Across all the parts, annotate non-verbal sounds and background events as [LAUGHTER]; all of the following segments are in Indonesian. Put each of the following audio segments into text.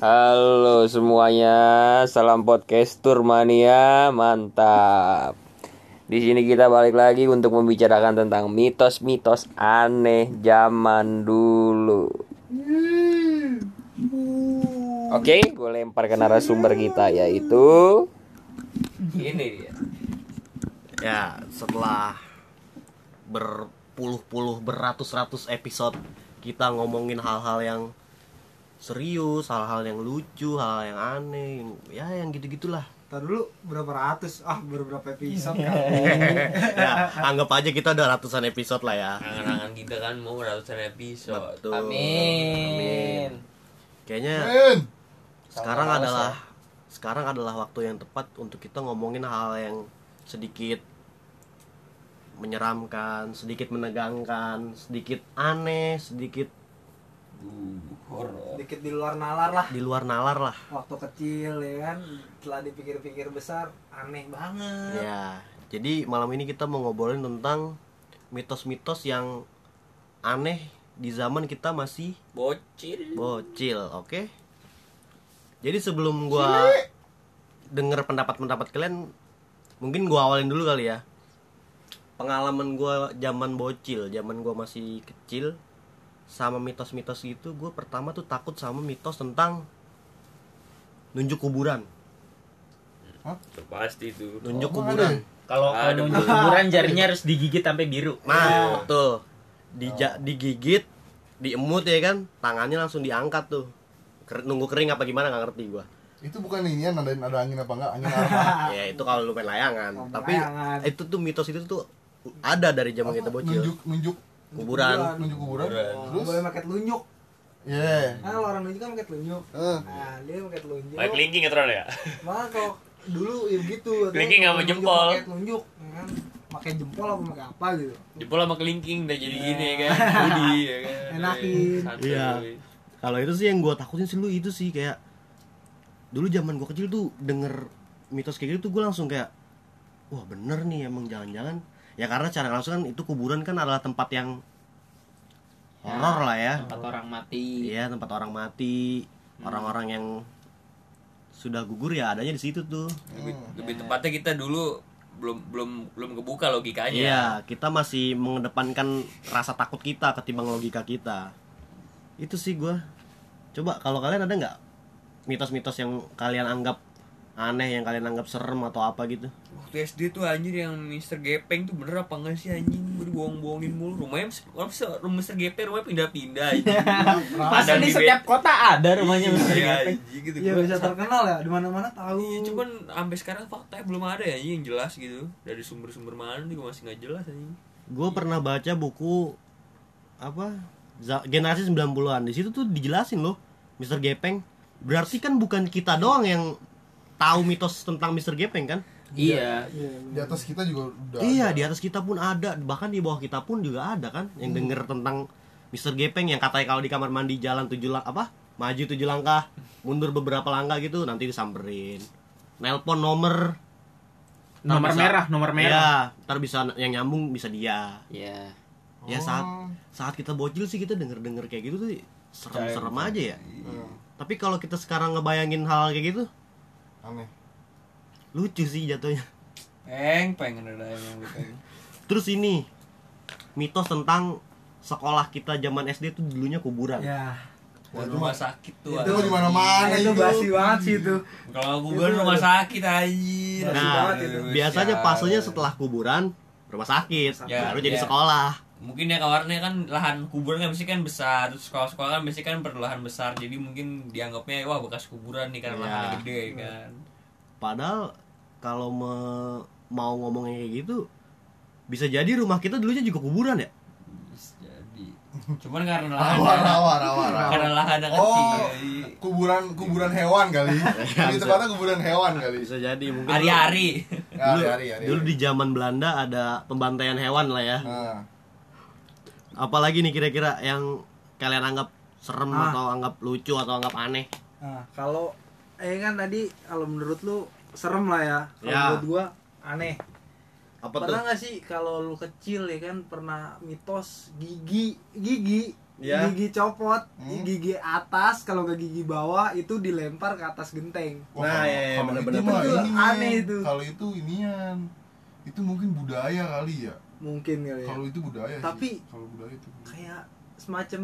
Halo semuanya, salam podcast Turmania, mantap. Di sini kita balik lagi untuk membicarakan tentang mitos-mitos aneh zaman dulu. Hmm. Oke, gue lempar ke narasumber kita yaitu ini dia. Ya, setelah berpuluh-puluh, beratus-ratus episode kita ngomongin hal-hal yang serius, hal-hal yang lucu, hal yang aneh, yang- ya yang gitu-gitulah. Ntar dulu berapa ratus ah beberapa episode kan [LAUGHS] ya, anggap aja kita udah ratusan episode lah ya. Angan-angan kita kan mau ratusan episode. Betul. Amin. Kayaknya sekarang adalah sekarang adalah waktu yang tepat untuk kita ngomongin hal yang sedikit menyeramkan, sedikit menegangkan, sedikit aneh, sedikit dikit di luar nalar lah di luar nalar lah. waktu kecil ya kan setelah dipikir-pikir besar aneh Iya, banget Ya, jadi malam ini kita mau ngobrolin tentang mitos-mitos yang aneh di zaman kita masih Bocil. bocil, oke? Jadi sebelum gua denger pendapat-pendapat kalian, mungkin gua awalin dulu kali ya. Pengalaman gua zaman bocil, zaman gua masih kecil sama mitos-mitos gitu, gua pertama tuh takut sama mitos tentang nunjuk kuburan, Itu pasti tuh. nunjuk Oh, kuburan. Kalau kalau Aduh. nunjuk kuburan jarinya harus digigit sampai biru. Nah, betul. Dija- digigit, diemut ya kan, tangannya langsung diangkat tuh. Ker- nunggu kering apa gimana nggak ngerti gua. Itu bukan ini ada ada angin apa enggak? Angin apa? Ya itu kalau lu main layangan. Main Tapi layangan. itu tuh mitos itu tuh ada dari zaman kita bocil. Oh, Nunjuk nunjuk Kuburan. nunjuk kuburan. Nah, Terus boleh pakai telunjuk ya. kan kalau orang nunjuk kan pakai telunjuk Eh, nah dia pakai telunjuk Hmm. Kayak kelingking ya Tron ya? malah kalau dulu ya [LAUGHS] gitu Kelingking kalau sama nunjuk jempol. pakai telunjuk ya kan pakai jempol apa pakai apa gitu Jempol sama kelingking udah jadi gini ya [LAUGHS] kan. Budi ya kan. Enakin. Santuy. Iya. Kalau itu sih yang gua takutin sih lu itu sih kayak dulu zaman gua kecil tuh denger mitos kayak gitu tuh gua langsung kayak wah bener nih emang jangan-jangan ya karena cara langsung kan itu kuburan kan adalah tempat yang horor lah ya. tempat orang mati. Iya tempat orang mati, orang-orang yang sudah gugur ya adanya di situ tuh. Lebih, lebih tepatnya kita dulu belum belum belum kebuka logikanya. Iya, kita masih mengedepankan rasa takut kita ketimbang logika kita. Itu sih gua. Coba kalau kalian ada nggak mitos-mitos yang kalian anggap aneh, yang kalian anggap serem atau apa gitu? Waktu SD tuh anjir yang Mr. Gepeng tuh bener apa enggak sih anjing? Gue dibohong-bohongin mulu. Rumahnya orang se- rumah Mr. Gepeng rumahnya pindah-pindah anjing. Masa Dan di di setiap kota ada rumahnya Mr. Iya Gepeng. anjing gitu. ya Gua bisa terkenal ya di mana mana tahu Iya, cuman sampai sekarang faktanya belum ada ya anjing, yang jelas gitu. Dari sumber-sumber mana juga masih nggak jelas anjing. Gua pernah baca buku apa? Za- Generasi 90-an. Di situ tuh dijelasin loh Mr. Gepeng. Berarti kan bukan kita doang yang tahu mitos tentang Mr. Gepeng kan? Iya. Iya, Di atas kita juga udah. Iya, ada. di atas kita pun ada, bahkan di bawah kita pun juga ada kan yang Hmm. denger tentang Mr. Gepeng yang katanya kalau di kamar mandi jalan tujuh lang apa? Maju tujuh langkah, mundur beberapa langkah gitu nanti disamperin. Nelpon nomor ntar Nomor bisa- merah, nomor merah. Iya, ntar bisa yang nyambung bisa dia. Iya. Ya saat Hmm, saat kita bocil sih kita denger-denger kayak gitu tuh serem-serem aja ya. Iya. Tapi kalau kita sekarang ngebayangin hal kayak gitu, Aneh. lucu sih jatuhnya. [LAUGHS] Peng, pengen ada yang pengen. Terus ini mitos tentang sekolah kita zaman SD tuh dulunya kuburan. ya Dan rumah sakit tuh. Itu anjing. di mana-mana itu itu. Eh, basi banget sih itu Kalau kuburan rumah sakit anjir. Nah, Iya, Nah, Itu biasanya fasenya setelah kuburan rumah sakit, Ya, baru jadi ya. sekolah. mungkin ya kawarnya kan lahan kuburan kan biasanya kan besar terus sekolah-sekolah kan biasanya kan berlahan besar jadi mungkin dianggapnya wah bekas kuburan nih Iya. karena lahannya gede kan Padahal kalau me- mau ngomongnya kayak gitu bisa jadi rumah kita dulunya juga kuburan ya. Terus jadi cuman karena Rawa lahan rawa rawa rawa. karena lahan yang Oh. kecil Kuburan kuburan hewan kali. Di tempatnya kuburan hewan kali. Bisa jadi mungkin hari-hari Ya, dulu, hari hari hari. dulu di zaman Belanda ada pembantaian hewan lah ya. Nah, Apalagi nih kira-kira yang kalian anggap serem Ah. atau anggap lucu atau anggap aneh. Nah, kalau eh kan tadi kalau menurut lu serem lah ya. Kalau Ya. menurut gua aneh. Apa pernah nggak sih kalau lu kecil ya kan pernah mitos gigi gigi Ya. gigi copot, Hmm? gigi atas kalau nggak gigi bawah itu dilempar ke atas genteng. Wah, Nah, kalau- iya, iya, kalau bener-bener. itu mah Itu ini, aneh men. itu. Kalau itu inian. Itu mungkin budaya kali ya. Mungkin kali ya. Kalau itu budaya sih. Tapi- kalau budaya itu. Kayak semacam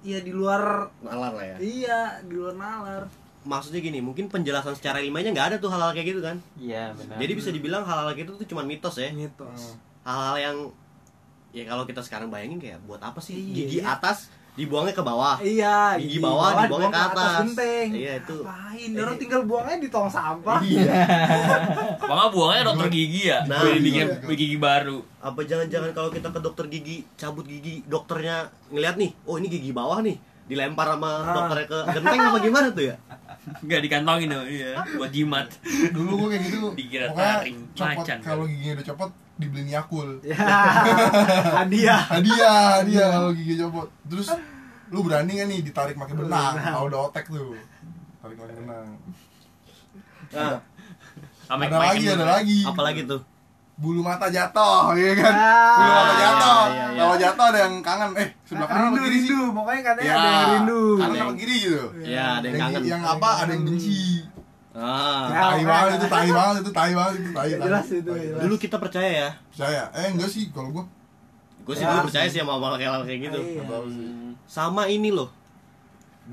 ya di luar nalar lah ya iya, di luar nalar. maksudnya gini mungkin penjelasan secara ilmiahnya nggak ada tuh hal-hal kayak gitu kan Iya benar. jadi bisa dibilang hal-hal kayak gitu tuh cuma mitos ya Mitos. hal-hal yang ya kalau kita sekarang bayangin kayak buat apa sih Iya. gigi atas dibuangnya ke bawah Iya, Gigi bawah dibuangnya ke atas. genteng. Iya, itu. Ngapain? Orang tinggal buangnya di tong sampah. Apa nggak buangnya dokter gigi ya? Nah, Nah, bikin iya. bikin gigi baru. apa jangan-jangan kalau kita ke dokter gigi cabut gigi dokternya ngeliat nih oh ini gigi bawah nih dilempar sama Ah. dokternya ke genteng apa gimana tuh ya Nggak dikantongin dong, iya. Buat jimat. Dulu gua kayak gitu. Dikira pokoknya taring, copot macan. kalau giginya udah copot dibeliin Yakul. [LAUGHS] Ya, hadiah. Hadiah, hadiah kalau gigi copot. Terus lu berani gak nih ditarik pakai benang? Kalau udah otek tuh. Tarik pakai benang. nah, Iya. Sama Ada lagi, ada lagi. apalagi tuh bulu mata jatuh, [LAUGHS] iya kan? Ah. Nah, bulu mata jatuh. Iya, iya, iya. Kalau jatuh ada yang kangen, eh sebelah kanan rindu, apa kiri sih? Ah, rindu. Pokoknya katanya Ya, Iya. ada yang rindu. Ah, Kanan apa kiri gitu. Iya. ya ada yang kangen yang apa ada yang benci. ah. Ya, Tai orang. banget itu, tai banget itu, tai banget itu, tai. Ya, tai. jelas itu, Tai. ya jelas. dulu kita percaya ya Percaya? Eh enggak sih kalau gua. gue sih Ya. dulu percaya sih sama hal hal kayak gitu Iya. Tahu sih. sama ini loh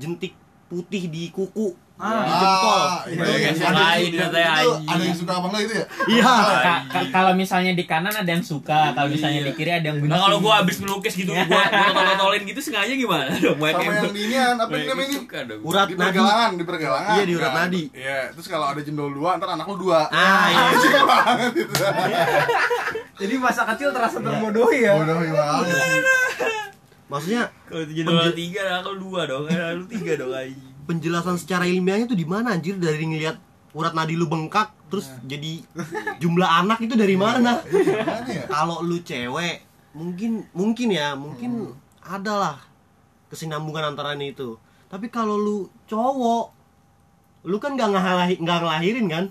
jentik putih di kuku Ah. di jempol iya, itu Banyak yang yang ada sukain, yang- kata ya, itu anjing. ada yang suka apa enggak itu ya? iya Ah, Ka- ka- kalau misalnya di kanan ada yang suka, kalau misalnya di kiri ada yang benci. Nah kalau gua abis ngelukis gitu, gua [LAUGHS] gua tolol-tololin gitu sengaja gimana dong? Banyak Sama yang di inian, apa yang namanya banyak yang ini? Iya, suka gitu kan dong. urat Di nadi pergelangan, di pergelangan. Iya, di urat Nah, nadi. Iya, terus kalau ada jendol dua, ntar anak lu dua. ah iya Anjing banget itu. Jadi masa kecil terasa Iya. terbodohi ya. Bodoh iya, banget. maksudnya Kalau itu jadi Penjel- orang tiga, aku dua dong, kan lu tiga dong aja. penjelasan secara ilmiahnya tuh di mana anjir dari ngelihat urat nadi lu bengkak terus Iya. jadi jumlah anak itu dari mana Gimana ya? iya. kalau lu cewek mungkin mungkin ya mungkin Hmm. adalah kesinambungan antara ini itu tapi kalau lu cowok lu kan nggak ngelahirin nggak ngelahirin kan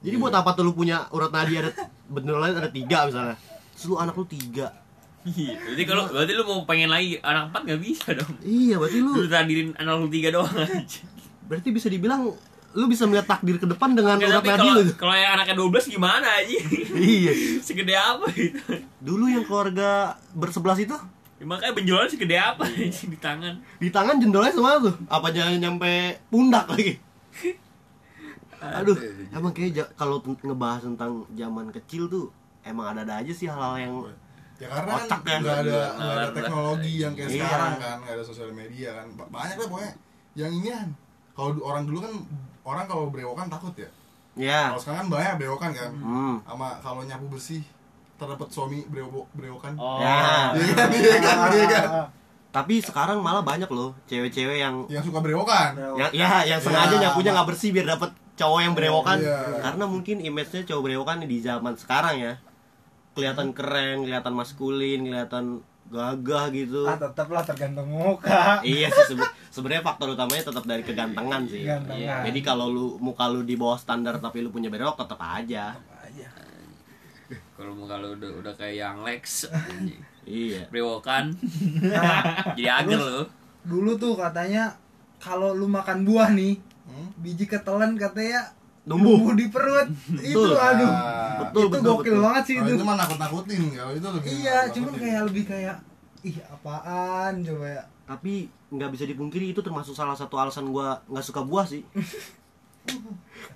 Iya. jadi buat apa tuh lu punya urat nadi ada bener lain ada tiga misalnya terus lu anak lu tiga Iya. Berarti kalau berarti lu mau pengen lagi anak empat nggak bisa dong. iya berarti lu Lu tandirin anak lu tiga doang aja. berarti bisa dibilang lu bisa melihat takdir ke depan dengan Nggak, urat tapi nadi kalau lu [LAUGHS] kalau yang anaknya 12 gimana aja? iya [LAUGHS] segede apa itu? dulu yang keluarga bersebelas itu Ya, makanya benjolan segede apa anjing di tangan? di tangan jendolnya semua tuh apa jangan nyampe pundak [LAUGHS] lagi aduh iya. emang kayaknya ja- kalau ten- ngebahas tentang zaman kecil tuh emang ada-ada aja sih hal-hal yang Ya karena Otak kan kan. nggak ada Bener, nggak ada bener. teknologi yang kayak Iya. sekarang kan, nggak ada sosial media kan. Ba- Banyak lah pokoknya yang inian. Kalau du- orang dulu kan orang kalau berewokan takut ya. ya Kalau sekarang kan banyak berewokan kan. hmm. Sama kalau nyapu bersih terdapat suami berewok berewokan. Oh. Ya. Iya kan, iya kan, iya kan. tapi sekarang malah banyak loh cewek-cewek yang Yang suka kan? berewokan. Nah, yang ya yang sengaja Iya. nyapunya nggak bersih biar dapet cowok yang berewokan Iya. karena mungkin image-nya cowok berewokan di zaman sekarang ya kelihatan keren kelihatan maskulin kelihatan gagah gitu Ah, tetaplah tergantung muka. iya sih sebe- sebenarnya faktor utamanya tetap dari kegantengan sih Kegantengan. Iya. jadi kalau lu muka lu di bawah standar tapi lu punya berok tetap aja Iya. Kalau mau kalau udah udah kayak yang Lex anjing. iya Brewokan. Nah, Jadi ager lu. dulu tuh katanya kalau lu makan buah nih, Hmm? biji ketelan katanya tumbuh di [LAUGHS] perut. itu Betul. Ah, aduh. Nah, Betul, itu betul, gokil betul. Oh, banget sih Kalau itu. Nah, itu mah nakut-nakutin, kalau itu Iya, lebih nakut-nakutin. gitu? cuman kayak lebih kayak ih apaan coba ya. tapi nggak bisa dipungkiri itu termasuk salah satu alasan gua nggak suka buah [LAUGHS] sih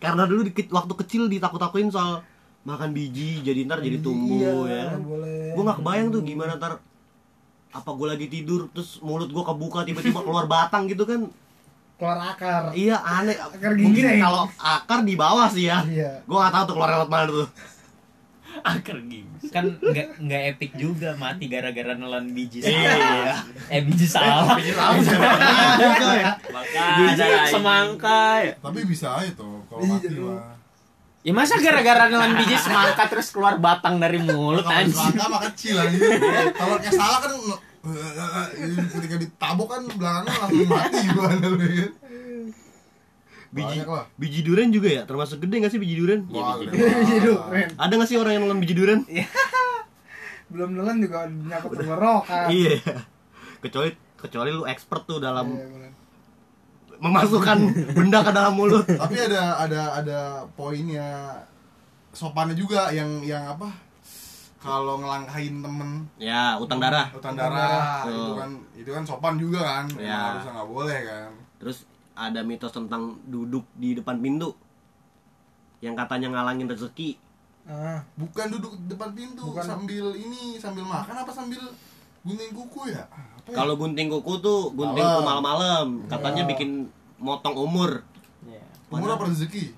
karena dulu di, waktu kecil ditakut-takutin soal makan biji jadi ntar jadi tumbuh Iya, ya kan boleh. gue nggak kebayang tuh gimana ntar apa gue lagi tidur terus mulut gue kebuka tiba-tiba keluar batang gitu kan keluar akar. Iya aneh. Akar Mungkin ginseng. kalau akar di bawah sih ya. Iya. Gue nggak tahu tuh keluar lewat mana tuh. Ager gitu. Kan nggak nggak epic juga mati gara-gara nelan biji Iya. Nah, salah. eh biji salah. Makanya semangka. ya. tapi bisa aja tuh kalau Iya, mati lu. mah. Ya masa gara-gara nelan biji semangka terus keluar batang dari mulut Kalau anjing. celaka mah kecil anjing. Kalau yang salah kan eh, ketika ditabok kan belakangnya langsung mati gimana lu ya. [LAUGHS] Biji Banyak lah. biji duren juga ya, termasuk gede nggak sih Iya, biji duren? Wah, udah. Biji duren. Ada nggak sih orang Iya. yang nonton biji duren? kan? Belum nelan juga nyakut tenggorokan. Iya. kecuali kecuali lu expert tuh dalam Iya, bener. [LAUGHS] memasukkan benda ke dalam mulut tapi ada ada ada poinnya sopannya juga yang yang apa kalau ngelangkahin temen ya utang darah hutan darah Tuh. itu kan itu kan sopan juga kan Iya. Emang harusnya nggak boleh kan terus ada mitos tentang duduk di depan pintu yang katanya ngalangin rezeki Ah, bukan duduk depan pintu Bukan. sambil ini sambil makan apa sambil gunting kuku ya apa ya? kalau gunting kuku tuh gunting kuku Malam. Iya. malam-malam katanya bikin motong umur Iya, umur apa rezeki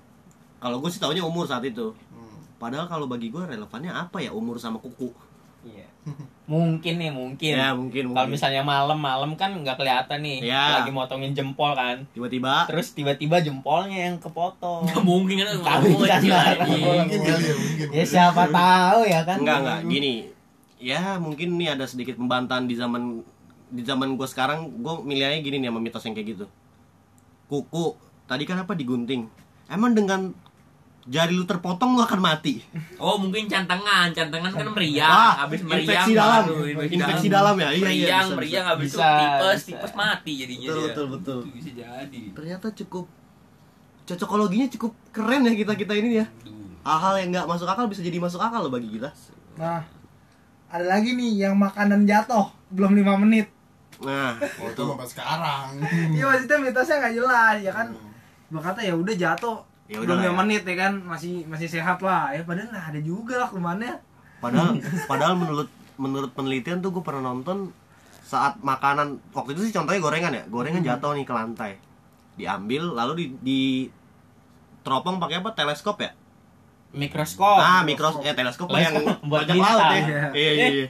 kalau gue sih taunya umur saat itu Hmm. padahal kalau bagi gue relevannya apa ya umur sama kuku Iya. Mungkin nih, mungkin. ya mungkin Iya. Kalau mungkin. misalnya malam-malam kan nggak kelihatan nih, Iya. lagi motongin jempol kan. tiba-tiba Terus tiba-tiba jempolnya yang kepotong. Nggak mungkin kan Tapi ngomong aja jangan. anjing. mungkin kali ya mungkin ya siapa tahu ya kan. enggak enggak gini ya mungkin nih ada sedikit pembantahan di zaman di zaman gue sekarang gue milihnya gini nih sama mitos yang kayak gitu kuku tadi kan apa digunting emang dengan jari lu terpotong lu akan mati Oh mungkin cantengan, cantengan kan meriang, Wah, habis meriang Ah, infeksi dalam baru kan. infeksi dalam ya iya iya meriang, bisa, bisa. meriang habis itu Bisa, tipes, bisa. tipes mati jadinya betul dia. betul betul Itu bisa jadi. ternyata cukup cocokologinya cukup keren ya kita kita ini ya hal-hal yang nggak masuk akal bisa jadi masuk akal loh bagi kita nah, ada lagi nih yang makanan jatuh belum lima menit. nah oh, itu sampai sekarang Hmm. Iya maksudnya mitosnya nggak jelas ya kan. Gua kata ya udah jatuh. Ya belum udah lah lima ya. menit ya kan masih masih sehat lah. Ya padahal nah, ada juga lah kumannya. Padahal padahal menurut menurut penelitian tuh gue pernah nonton saat makanan waktu itu sih contohnya gorengan ya, gorengan jatuh nih ke lantai. Diambil lalu di, di teropong pakai apa? Teleskop ya? Mikroskop. ah, mikros eh teleskop lah yang Oh, Teleskop buat bajak laut ya. bintang. Iya, iya, iya.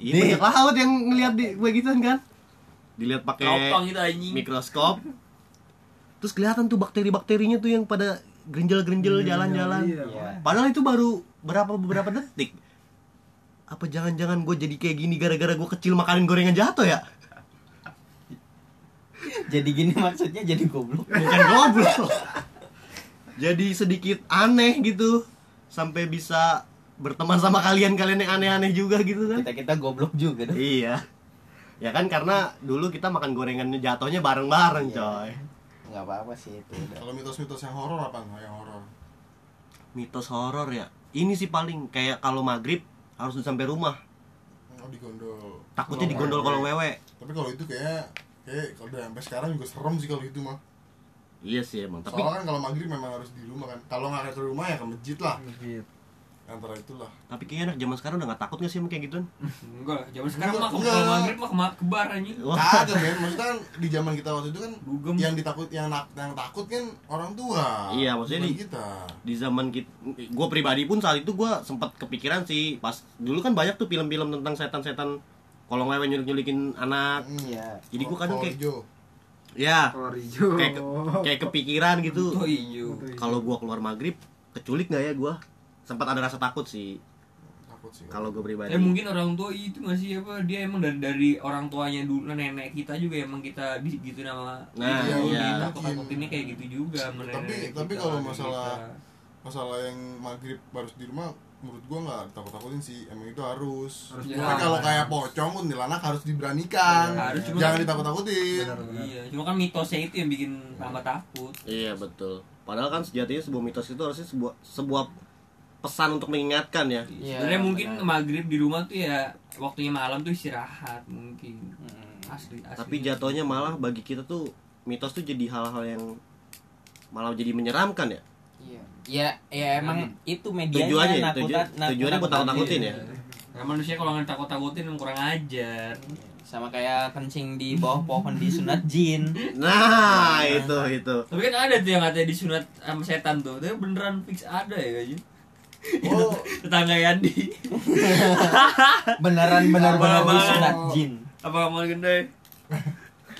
Iya, Nih. bajak laut yang ngelihat di begituan kan? Dilihat pakai Kopong itu anjing. mikroskop. Terus kelihatan tuh bakteri-bakterinya tuh yang pada grenjel-grenjel jalan-jalan. Iya. Padahal itu baru berapa beberapa detik. Apa jangan-jangan gue jadi kayak gini gara-gara gue kecil makanan gorengan jatuh ya? Jadi gini maksudnya jadi goblok. Bukan goblok. jadi sedikit aneh gitu sampai bisa berteman sama kalian-kalian yang aneh-aneh juga gitu kan? Kita-kita goblok juga dong. Iya. Ya kan karena dulu kita makan gorengannya jatuhnya bareng-bareng coy. Enggak apa-apa sih itu. udah. kalau mitos-mitos yang horor apa nggak yang horor Mitos horor ya. Ini sih paling kayak kalau maghrib harus udah sampai rumah. oh digondol Takutnya Kalau digondol wewe. kalau wewe. tapi kalau itu kayak kayak kalau udah sampai sekarang juga serem sih kalau itu mah Iya sih emang. Tapi soalnya kan kalau maghrib memang harus di rumah kan kalau nggak ada di rumah ya ke masjid lah antara itulah tapi kayaknya anak zaman sekarang udah gak takut gak sih sama kayak gituan? Enggak lah, zaman sekarang mah Enggak, kalau enggak. maghrib mah kema- ke bar anjing. kagak men maksudnya kan di zaman kita waktu itu kan Dugem. yang ditakut yang nak- yang takut kan orang tua Iya, maksudnya Bukan di- kita di zaman kita gue pribadi pun saat itu gue sempat kepikiran sih pas dulu kan banyak tuh film-film tentang setan-setan kolong wewe nyulik-nyulikin anak Hmm. Iya. jadi gue kadang kayak Jo ya Kolor hijau. kayak ke- kayak kepikiran Oh gitu iya. kalau gue keluar maghrib keculik nggak ya gue sempat ada rasa takut sih takut sih kalau gue pribadi Tapi Eh, mungkin orang tua itu masih apa dia emang dari, dari orang tuanya dulu nenek kita juga emang kita di- gitu nama Nah, iya. takut takutinnya kayak gitu juga sama tapi nenek tapi kita, kalau nenek masalah kita. masalah yang maghrib harus di rumah menurut gua nggak takut takutin sih emang itu harus, Harus tapi dilawan. kalau kayak pocong kuntilanak harus diberanikan Iya, Harus, cuma- jangan ditakut takutin Iya, cuma kan mitosnya itu yang bikin tambah takut. iya betul padahal kan sejatinya sebuah mitos itu harusnya sebuah sebuah pesan untuk mengingatkan ya Iya, Sebenarnya mungkin benar. maghrib di rumah tuh ya waktunya malam tuh istirahat mungkin. Mm-mm. Asli, asli. tapi jatuhnya malah bagi kita tuh mitos tuh jadi hal-hal yang malah jadi menyeramkan ya Iya. Ya, ya emang itu medianya tujuannya ya, nakut- tujuan- nakut- tujuannya buat nakutin. takut-takutin ya? Karena Nah, manusia kalau nggak takut-takutin kurang ajar. Sama kayak kencing di bawah pohon di sunat [LAUGHS] jin. nah itu itu Tapi kan ada tuh yang katanya disunat sama setan tuh. Tapi beneran fix ada ya kayaknya. oh Tetangga Yandi. [LAUGHS] Beneran bener bener di Abang-abangan. sunat jin. Apa mau Iya, gede?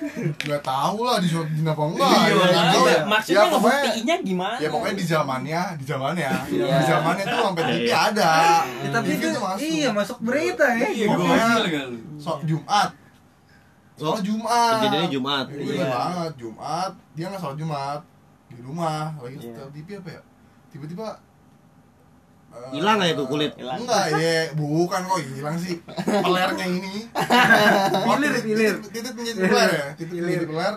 nggak tahu lah di shot jin apa enggak Iya, Ya, nggak tahu Iya, ya. maksudnya Ya, pokoknya- ngebuktiinnya gimana? ya pokoknya di zamannya di zamannya Iya. di zamannya tuh sampai TV Iya. ada Ya, tapi TV itu tuh masuk. iya masuk berita ya. Iya, Pokoknya- gokil gak lu? so Jumat soal Jumat kejadiannya Jumat Iya, bener banget Jumat dia Iya. nggak sholat Jumat di rumah lagi setel TV apa ya tiba-tiba eh, Hilang nggak itu kulit? Enggak ya, bukan kok hilang sih. Pelernya [LAUGHS] ini. Oh, Pilir, titik- pilir. titik- Titik menjadi peler ya. Titik Pilir. menjadi peler.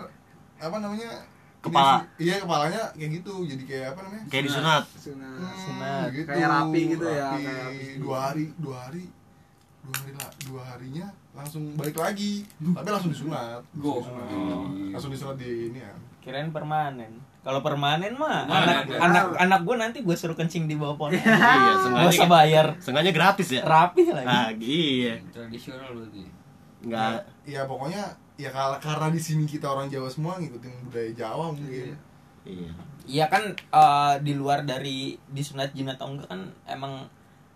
Apa namanya? Ini Kepala. sih- Iya, kepalanya kayak gitu. Jadi kayak apa namanya? Kayak disunat. Nah, Sunat. Hmm, gitu. Kayak rapi gitu ya, Rapi. kayak rapi. Dua hari, dua hari dua hari lah dua harinya langsung balik lagi tapi langsung disunat Go. langsung disunat, langsung disunat di ini ya Kirain permanen. Kalau permanen mah Permanen, anak ya. anak anak gue nanti gue suruh kencing di bawah pohon. Iya, Gak usah sengaja. bayar. Sengaja gratis ya. Rapi lagi. Ah, iya. Tradisional berarti. Enggak ya pokoknya ya kal- karena di sini kita orang Jawa semua ngikutin budaya Jawa mungkin iya. Iya kan eh, di luar dari disunat jin atau enggak kan emang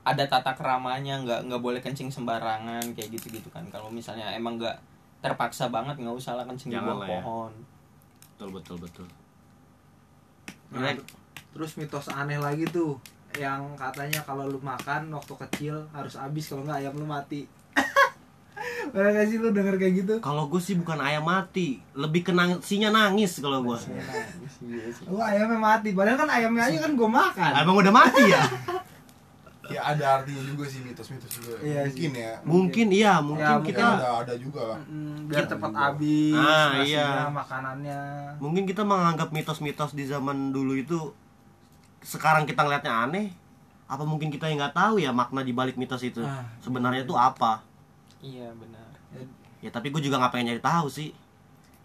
ada tata keramanya nggak nggak boleh kencing sembarangan kayak gitu gitu kan kalau misalnya emang nggak terpaksa banget nggak usah lah kencing Jangan di bawah lah ya. pohon Betul betul betul. Nah, Menarik. terus mitos aneh lagi tuh yang katanya kalau lu makan waktu kecil harus habis kalau nggak ayam lu mati. [LAUGHS] Pernah gak sih lu denger kayak gitu? Kalau gue sih bukan ayam mati, lebih ke nangisinya nangis kalau gue. Iya Lu ayamnya mati, padahal kan ayamnya aja kan gue makan. Emang udah mati ya? ya ada artinya juga sih mitos-mitos juga Iya mungkin ya mungkin iya, Ya, mungkin mungkin kita kita ada ada juga Mm, biar cepet habis Ah, nasinya, iya. makanannya. mungkin kita menganggap mitos-mitos di zaman dulu itu sekarang kita ngelihatnya aneh. Apa mungkin kita yang nggak tahu ya makna di balik mitos itu? Sebenarnya itu apa? iya benar Ya tapi gue juga nggak pengen nyari tahu sih,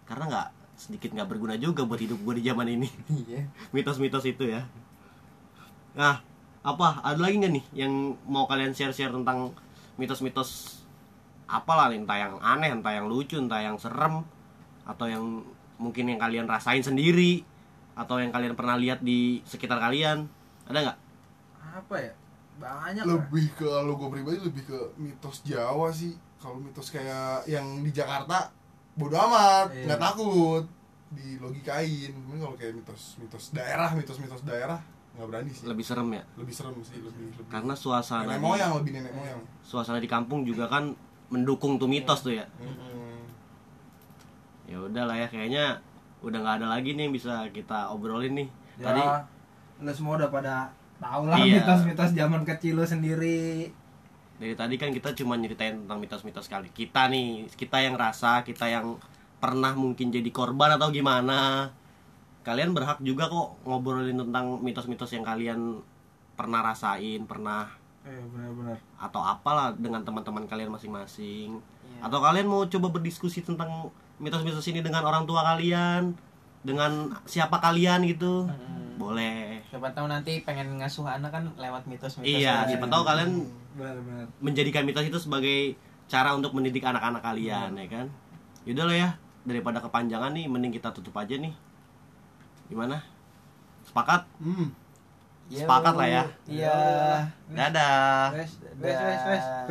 karena nggak sedikit nggak berguna juga buat hidup gue di zaman ini. iya mitos-mitos itu ya. Nah, apa ada lagi nggak nih yang mau kalian share-share tentang mitos-mitos apalah nih, entah yang aneh, entah yang lucu, entah yang serem atau yang mungkin yang kalian rasain sendiri atau yang kalian pernah lihat di sekitar kalian. Ada nggak? Apa ya? Banyak. lah. lebih ke kalau gue pribadi lebih ke mitos Jawa sih kalau mitos kayak yang di Jakarta bodo amat Iya. nggak takut dilogikain Cuman kalau kayak mitos mitos daerah mitos mitos daerah nggak berani sih lebih, Lebih serem ya? serem sih lebih lebih Karena suasana nenek di, moyang lebih nenek moyang suasana di kampung juga kan mendukung tuh mitos tuh ya. Mm-mm. Ya udahlah ya kayaknya udah nggak ada lagi nih yang bisa kita obrolin nih. Ya, Tadi lu semua udah pada tahu lah Iya. mitos-mitos zaman kecil lu sendiri. dari tadi kan kita cuma nyeritain tentang mitos-mitos kali kita nih kita yang rasa kita yang pernah mungkin jadi korban atau gimana kalian berhak juga kok ngobrolin tentang mitos-mitos yang kalian pernah rasain pernah Eh, benar-benar. atau apalah dengan teman-teman kalian masing-masing Iya. atau kalian mau coba berdiskusi tentang mitos-mitos ini dengan orang tua kalian dengan siapa kalian gitu Mm-mm. boleh siapa tahu nanti pengen ngasuh anak kan lewat mitos-mitos iya aja. siapa tahu kalian Benar-benar. menjadikan mitos itu sebagai cara untuk mendidik anak-anak kalian ya kan yaudah lah ya daripada kepanjangan nih mending kita tutup aja nih gimana sepakat Hmm. Yo. sepakat lah ya. iya dadah Wes, wes, wes, wes.